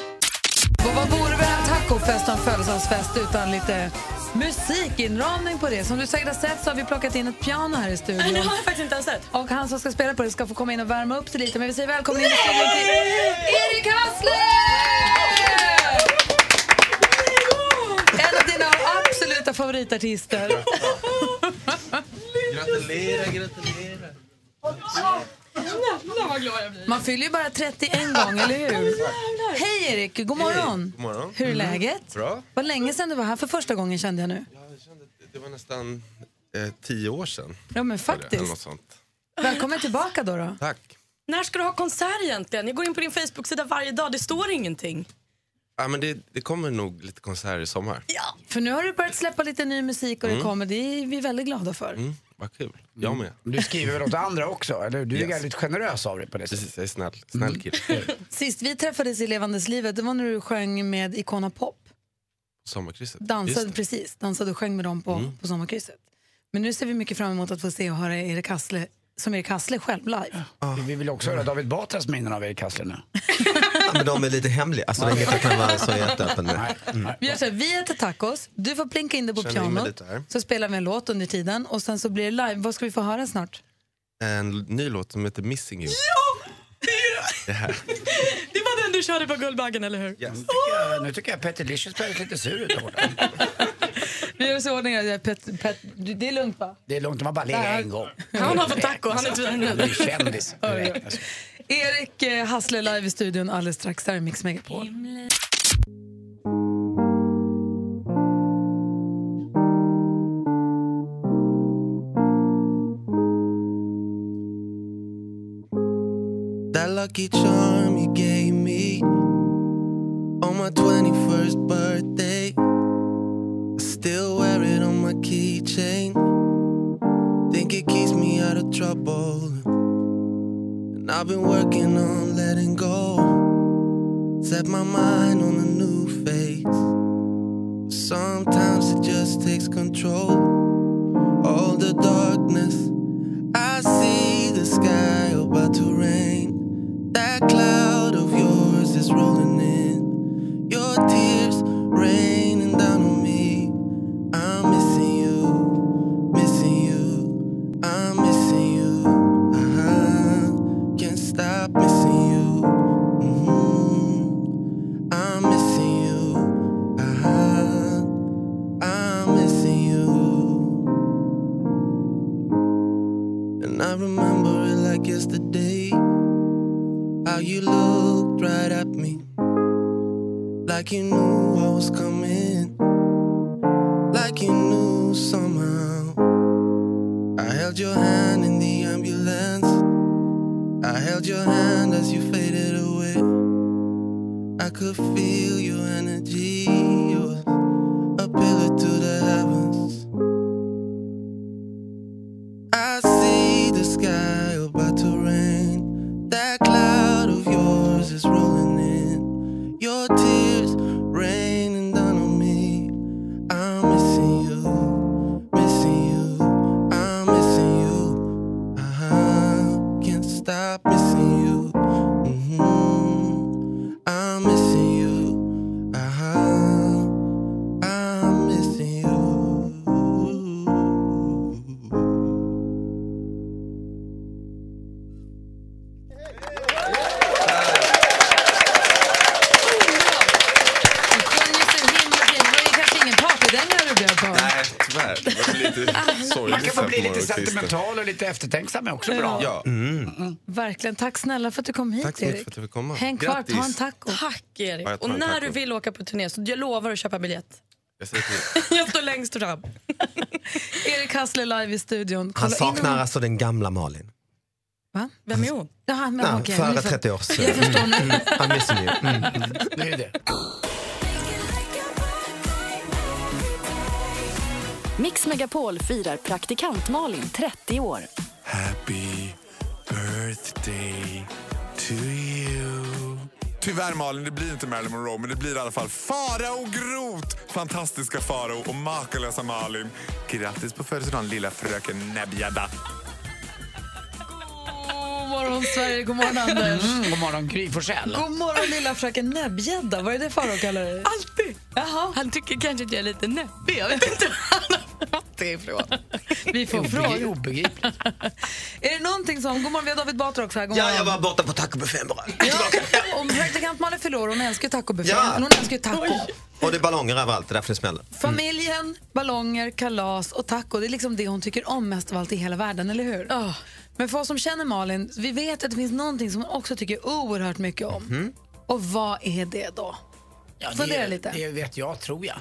A: Och vad vore väl en tacofest och en födelsedagsfest utan lite musikinramning på det? Som du säkert har sett så har vi plockat in ett piano här i studion.
V: Nej, det har jag faktiskt inte ens sett.
A: Och han som ska spela på det ska få komma in och värma upp sig lite. Men vi säger välkommen in i
V: Nej!
A: studion till Erik Hassler! En av dina absoluta favoritartister.
J: Gratulera, gratulera.
V: Jävlar vad glad jag blir.
A: Man fyller ju bara 31 gång, eller hur? Hej Erik, god morgon!
W: God morgon. Mm.
A: Hur är läget?
W: Bra.
A: Vad länge sedan du var här för första gången kände jag nu.
W: Det var nästan eh, tio år sedan.
A: Ja men
W: Eller något
A: faktiskt.
W: sånt.
A: Välkommen tillbaka då. då.
W: Tack.
V: När ska du ha konsert egentligen? Jag går in på din Facebook-sida varje dag, det står ingenting.
W: Ja, men det, det kommer nog lite konserter i sommar.
V: Ja.
A: För nu har du börjat släppa lite ny musik och det
W: Mm.
A: kommer. Det är vi väldigt glada för.
W: Mm, vad kul. Jag med.
D: Mm. Du skriver väl åt andra också? Eller? hur? Du är
W: Yes.
D: väldigt generös av dig på det sättet.
W: Precis, jag är snäll. Snäll kille.
A: Sist vi träffades i Levandeslivet, det var när du sjöng med Icona Pop.
W: Sommarkrysset.
A: Dansade
W: Just det.
A: precis, dansade och sjöng med dem på,
W: Mm.
A: på sommarkrysset. Men nu ser vi mycket fram emot att få se och höra Erik Hassle, som Erik Hassle själv live.
D: Mm. Vi vill också höra David Batras minnen av Erik Hassler nu.
S: Ja, men de är lite hemliga. Alltså, det är inget jag kan vara så jätteöppen med. Mm.
A: Vi gör så här, vi äter tacos, du får plinka in det på
W: Känner in mig
A: pianot,
W: lite här.
A: så spelar vi en låt under tiden och sen så blir det live. Vad ska vi få höra snart?
W: En ny låt som heter Missing You. Det här.
V: Det var den du körde på Guldbaggen, eller hur?
D: Nu tycker jag, nu tycker jag Petter Licious är lite sur ut där borta.
A: Vi gör så i ordning att jag- pet, pet, du- det är lugnt va?
D: Det är lugnt, de har bara legat en gång.
A: Han har fått taco, han är inte vidare nu.
D: Du är kändis. Det räknas.
A: Erik eh, Hassle live i studion alldeles strax. Där är Mix Megapol.
X: That lucky charm you gave me on my 21st birthday. I still wear it on my keychain. Think it keeps me out of trouble. And I've been working on letting go. Set my mind on a new face. Sometimes it just takes control. All the darkness, I see the sky about to rain. That cloud of yours is rolling in. Your tears raining down on me. I'm missing you, missing you. I'm missing you. Uh-huh. Can't stop missing you. Mhm. I'm missing you. Uh-huh. I'm missing you. And I remember it like yesterday. How you looked right at me. Like you knew I was coming. Like you knew somehow. I held your hand in the ambulance. I held your hand as you faded away. I could feel your energy. You was a pillar to the heavens. I see the sky about to rain. That cloud of yours is rolling in. Your tears raining down on me. I'm missing you, missing you. I'm missing you. Uh-huh. Can't stop missing you. Mhm. I'm missing you. Uh-huh. I'm missing you.
A: Det är kanske ingen party den när du blev barn.
W: Nej, tyvärr. Det var lite sorgligt
D: Man kan få
W: fem
D: bli lite
W: år, Christer.
D: sentimental och lite eftertänksam är också bra. Mm.
W: Ja.
A: Verkligen. Tack snälla för att du kom hit,
W: Tack så mycket för att jag fick komma.
A: Häng kvar, ta en taco.
E: Tack Erik.
W: Ja, jag tar
E: Och
W: en
E: när
W: taco.
E: du vill åka på turné så jag lovar att köpa biljett.
W: Jag säger till.
E: Jag står längst fram.
A: Erik Hassler live i studion.
S: Han
A: Kolla in
S: saknar
A: honom.
S: alltså den gamla Malin.
A: Va?
E: Vem är hon?
A: Ja, han, men,
S: Nej,
A: okej, nu
S: före
A: fatt-
S: 30 år sedan.
A: Jag förstår nu.
S: Mm, Han missar ju. Mm.
D: Det är det.
B: Mix Megapol firar praktikant Malin 30 år.
H: Happy birthday to you. Tyvärr Malin, det blir inte Marilyn Monroe, men det blir i alla fall Farao Groth. Fantastiska Farao och makalösa Malin. Grattis på födelsedagen lilla fröken Nebjada.
A: God morgon, Sverige. God morgon, Anders.
D: Mm, god morgon Gry Forssell.
A: God morgon, lilla fröken Näbbgädda. Vad är det Farao kallar dig?
E: Alltid. Han tycker kanske att jag är lite näbbig. Jag vet inte var han har fått det ifrån.
A: Vi får fråga. Är det någonting som... God morgon, vi har David Batra också här. God
S: Ja,
A: morgon.
S: jag var borta på tacobuffén bara.
A: Om praktikant Malin förlorar, hon älskar ju tacobuffén.
S: Ja.
A: Hon älskar ju taco. Mm.
S: Och det är ballonger överallt, det är därför det smäller.
A: Familjen, ballonger, kalas och taco. Det är liksom det hon tycker om mest av allt i hela världen, eller hur? Men för oss som känner Malin, vi vet att det finns någonting som hon också tycker oerhört mycket om.
S: Mm.
A: Och vad är det då?
D: Ja,
A: Fundera
D: det,
A: lite.
D: Det vet jag, tror jag.
S: Ö,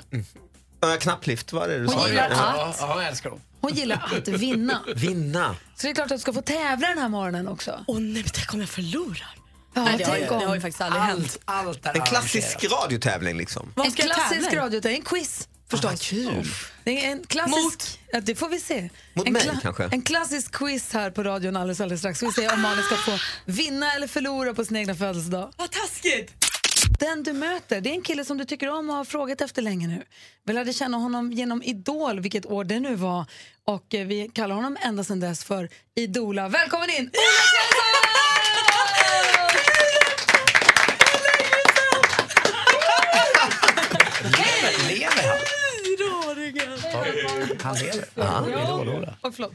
S: Mm. Äh, Knapplift, vad är det du sa?
A: Hon gillar
S: Ja.
A: allt.
D: Ja, jag älskar dem.
A: Hon gillar att vinna.
S: Vinna.
A: Så det är klart att du ska få tävla den här morgonen också. Åh nej, men tänk om jag förlorar. Ja,
E: Nej, det har
A: tänk
E: ju-
A: om.
E: det har ju faktiskt aldrig
A: Allt.
E: hänt.
D: Allt
S: En klassisk radiotävling liksom.
A: En klassisk radio, det är en quiz förstås.
S: kul.
A: Det är en klassisk, Mot? Ja, det får vi se.
S: Mot
A: en
S: mig, kanske?
A: En klassisk quiz här på radion alldeles, alldeles strax. Vi ser om Malin ska få vinna eller förlora på sin egna födelsedag.
E: Vad taskigt!
A: Den du möter, det är en kille som du tycker om och har frågat efter länge nu. Vi lärde känna honom genom Idol, vilket år det nu var. Och eh, vi kallar honom ända sedan dess för Idola. Välkommen in!
D: Lever han?
E: Fyraåringen!
D: Han lever.
S: Ja.
A: Oh, förlåt.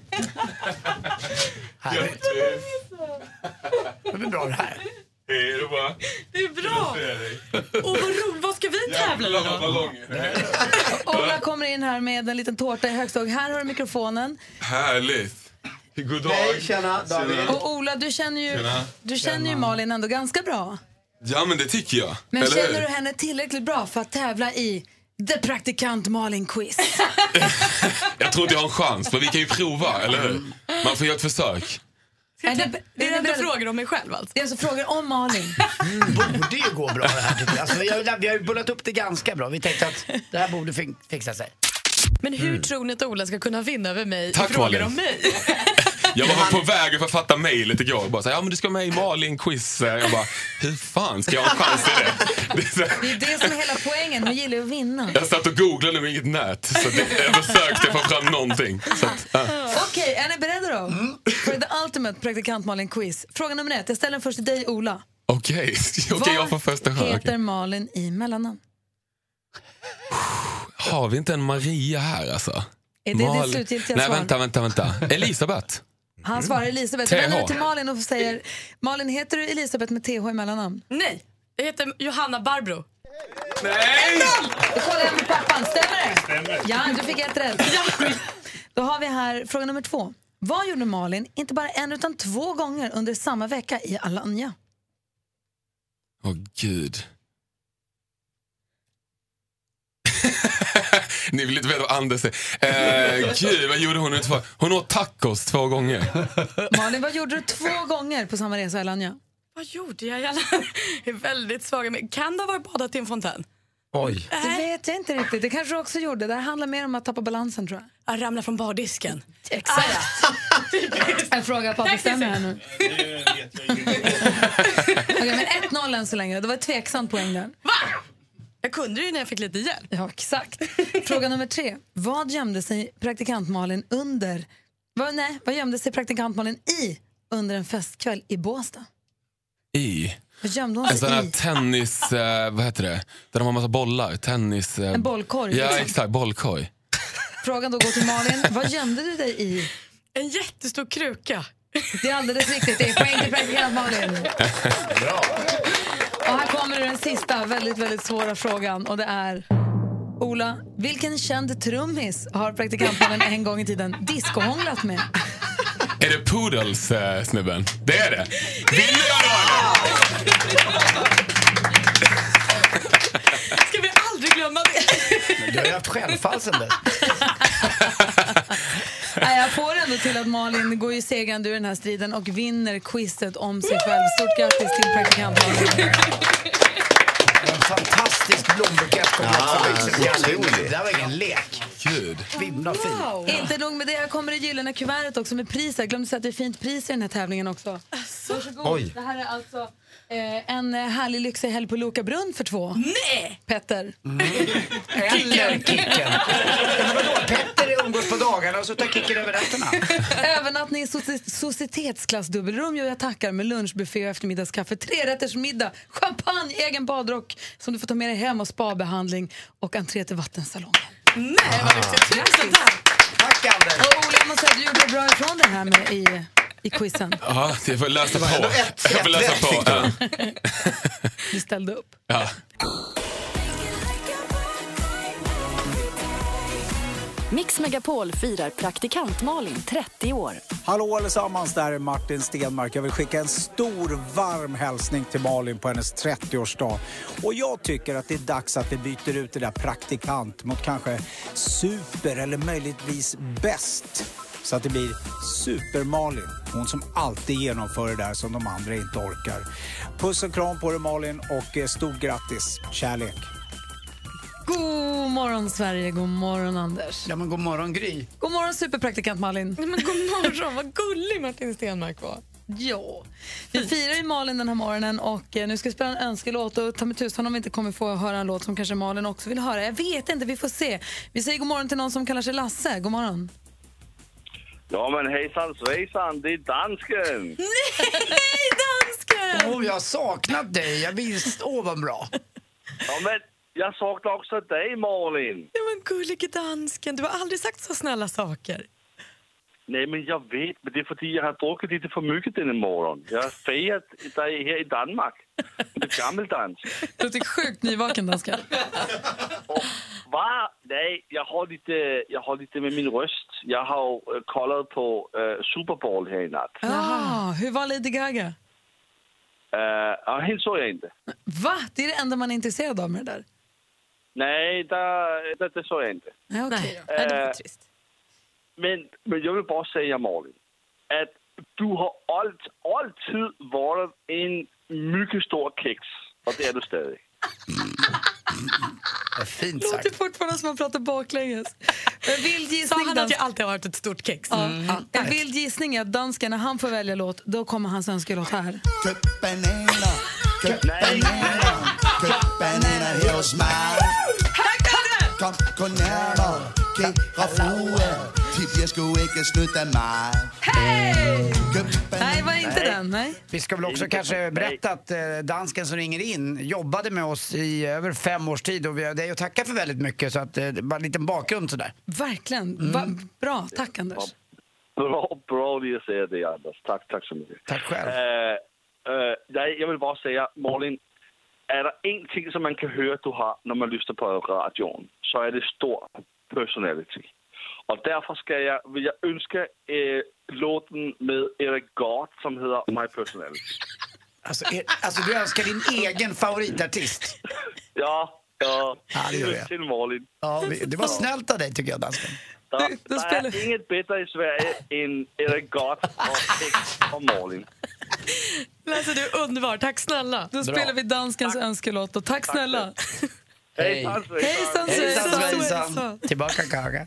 D: Härligt. Det blir bra det här.
J: Hej då bara.
E: Det är bra! Och vad roligt, vad ska vi tävla i då?
A: Ola kommer in här med en liten tårta i högstång. Här har du mikrofonen.
J: Härligt. God dag.
S: Hej, tjena, David.
A: Och Ola, du känner ju,
J: Tjena.
A: du känner ju Malin ändå ganska bra.
J: Ja, men det tycker jag.
A: Men
J: Eller
A: känner
J: hur?
A: du henne tillräckligt bra för att tävla i The Praktikant Malin-quiz?
J: Jag tror inte jag har en chans, men vi kan ju prova, eller hur? Man får göra ett försök.
A: Är det,
E: Är det ändå frågor om mig själv alltså?
A: Det är alltså frågor om Malin.
D: Mm, borde ju gå bra det här tycker jag. Alltså, jag vi har ju bullat upp det ganska bra. Vi tänkte att det här borde fin- fixa sig.
E: Men hur tror ni att Ola ska kunna vinna över mig i
D: Tack,
E: frågor
D: Malin.
E: om mig?
Y: Jag var på väg att författa mejlet igår. Bara så här, ja, men du ska vara med i Malin-quiz. Jag bara, hur fan ska jag ha en chans i det? det är så här,
A: Det är det som är hela poängen. Hon gillar ju att vinna.
Y: jag satt och googlade med inget nät. Så det, jag försökte få fram någonting. Så att, ja.
A: Okej, är ni beredda då? För the ultimate praktikant Malin-quiz. Fråga nummer ett. Jag ställer den först till dig, Ola.
Y: Okej, Okej, jag får första chans.
A: Heter
Y: Okej.
A: Malin i mellannamn?
Y: Har vi inte en Maria här alltså?
A: Är det ditt
Y: Malin-
A: slutgiltiga
Y: Nej,
A: svar?
Y: vänta, vänta, vänta. Elisabeth.
A: Han svarar Elisabeth. Jag
Y: TH.
A: vänder mig till Malin och säger Malin, heter du Elisabeth med TH i mellannamn?
V: Nej, jag heter Johanna Barbro.
Y: Nej!
A: Då kollar jag med pappan. Stämmer det? Ja, du fick ett rätt. Då har vi här fråga nummer två. Vad gjorde Malin, inte bara en utan två gånger under samma vecka i Alanya?
Y: Åh gud. Ni vill inte veta vad Anders säger. Eh, gud, vad gjorde hon? nu två- Hon åt tacos två gånger.
A: Malin, vad gjorde du två gånger på samma resa i Alanya?
V: Vad gjorde jag? Jag är väldigt svag. Men Kan det ha varit badat i en fontän?
D: Oj.
A: Det vet jag inte riktigt. Det kanske du också gjorde. Det här handlar mer om att tappa balansen tror jag.
V: Jag ramlade från bardisken. Ah,
A: Exakt. en fråga pappa stämmer här nu. Okej, men 1-0 än så länge. Det var ett tveksamt poäng där. Va?
V: Jag kunde ju när jag fick lite hjälp.
A: Ja, exakt. Fråga nummer tre. Vad gömde sig praktikantmalen under... Vad, nej, vad gömde sig praktikantmalen i under en festkväll i Båstad?
Y: I.
A: Vad gömde hon
Y: En
A: sig
Y: sån här
A: i?
Y: tennis... Eh, vad heter det? Där de har massa bollar. Tennis... Eh,
A: En bollkorg,
Y: Ja,
A: liksom.
Y: exakt. Bollkorg.
A: Frågan då går till Malin. Vad gömde du dig i?
V: En jättestor kruka.
A: Det är alldeles riktigt. Det är poäng till praktikant Malin. Och här kommer den sista väldigt, väldigt svåra frågan och det är Ola, vilken känd trummis har praktikantmannen en gång i tiden discohånglat med?
Y: Är det Poodles, eh, snubben? Det är det. Vill jag då eller?
V: Ska vi aldrig glömma det?
D: Du har ju haft självfall sen dess.
A: Nej, jag får ändå till att Malin går ju segrande ur den här striden och vinner quizet om sig själv. Stort grattis till praktikantmannen.
D: En fantastisk blombukett kom
S: Ja,
D: också.
S: otrolig.
D: Det där var ingen lek.
Y: Gud.
D: Himla fint.
A: Inte nog med det, här kommer det gyllene kuvertet också med pris. Jag glömde säga att det är fint pris i den här tävlingen också. Varsågod.
U: Oj.
A: Det här är alltså eh, en härlig lyxig helg på Loka brunn för två. Nej! Petter.
D: Eller Kicken. Men vadå, Petter umgås på dagarna och så tar Kicken över nätterna.
A: Övernattning i soci- societetsklass dubbelrum gör jag tackar med lunchbuffé och eftermiddagskaffe, trerättersmiddag, champagne, egen badrock som du får ta med dig hem och spabehandling och entré till vattensalongen. Nej,
V: vad lyxigt.
A: Tusen tack!
D: Tack Anders!
A: Och Ola, jag måste säga att du gjorde bra ifrån dig här med i, i quizen.
Y: Ja, jag får läsa på.
A: ändå ett-
Y: Jag får
A: ett rätt
Y: läsa på.
A: fick du.
Y: Ja.
A: Du ställde upp.
Y: Ja.
B: Mix Megapol firar praktikant Malin 30 år.
C: Hallå allesammans, det här är Martin Stenmark. Jag vill skicka en stor varm hälsning till Malin på hennes 30-årsdag. Och jag tycker att det är dags att vi byter ut det där praktikant mot kanske super eller möjligtvis bäst. Så att det blir Super-Malin. Hon som alltid genomför det där som de andra inte orkar. Puss och kram på dig Malin och eh, stort grattis. Kärlek.
A: God morgon, Sverige. God morgon, Anders.
D: Ja, men god morgon, Gry.
A: God morgon, superpraktikant Malin.
E: Men god morgon, vad gullig Martin Stenmark var.
A: Ja. Vi firar ju Malin den här morgonen och eh, nu ska vi spela en önskelåt och ta mig tusan om vi inte kommer få höra en låt som kanske Malin också vill höra. Jag vet inte, vi får se. Vi säger god morgon till någon som kallar sig Lasse. God morgon.
G: Ja, men hejsan svejsan, det är dansken!
D: Nej, dansken! Åh, jag har saknat dig. Jag visste, åh vad bra.
G: Ja, men jag saknar också dig, Malin.
E: Nej, men gullige dansken, du har aldrig sagt så snälla saker.
G: Nej, men jag vet, men det är för att jag har druckit lite för mycket denna morgon. Jag har fejat dig här i Danmark. Det är gammeldans.
A: Du låter sjukt nyvaken, danska.
G: Va? Nej, jag har, lite, jag har lite med min röst. Jag har eh, kollat på eh, Super Bowl här i natt.
A: Ah, hur var Lady Gaga?
G: Eh, Ja, helt såg jag inte.
A: Va? Det är det enda man är intresserad av med det där.
G: Nej, där, där, det såg jag inte.
A: Nej, okej då.
G: Nej, det var trist. Eh, Men, men jag vill bara säga, Malin, att du har allt, alltid varit en mycket stor kex. Och det är du stadig.
D: Fint sagt.
A: Låter fortfarande som man pratar baklänges. En vild
E: Sa
A: gissning,
E: han
A: dans-
E: att jag alltid har varit ett stort kex?
A: Ja.
E: Mm.
A: En vild gissning är att dansken, när han får välja låt, då kommer hans önskelåt här.
M: Her kom det! Kom, gå nærmere, kære frue. De bliver sgu ikke snydt af mig.
A: Hey! Nej, var inte den. Nej.
D: Vi ska väl också kanske berätta att eh, dansken som ringer in jobbade med oss i över fem års tid och vi har dig att tacka för väldigt mycket. Så att, eh, bara en liten bakgrund sådär.
A: Verkligen. Va, bra. Tack, Anders.
G: Bra, bra att ni säger det, Anders. Tack, tack så mycket. Eh,
D: Tack själv.
G: nej, jag vill bara säga, Malin, är det en ting som man kan höra att du har när man lyssnar på radion så är det stor personality. Och därför ska jag, vill jag önska eh, låten med Eric Gard som heter My Personality.
D: Alltså, er, alltså du önskar din egen favoritartist.
G: Ja, ja.
D: Ja, det gör jag.
G: Till Malin.
D: Ja, vi- det var snällt av dig tycker jag dansken.
G: Der, der er inget bedre i Sverige end Eric Gard og Tex og Malin.
E: Läser du underbar. Tack snälla.
A: Då spelar vi danskens önskelåt. Och tack snälla. Tá
D: tá
E: Hej.
A: Hejsan
D: Hejsan
A: svejsan.
D: svejsan. Tillbaka Kaga.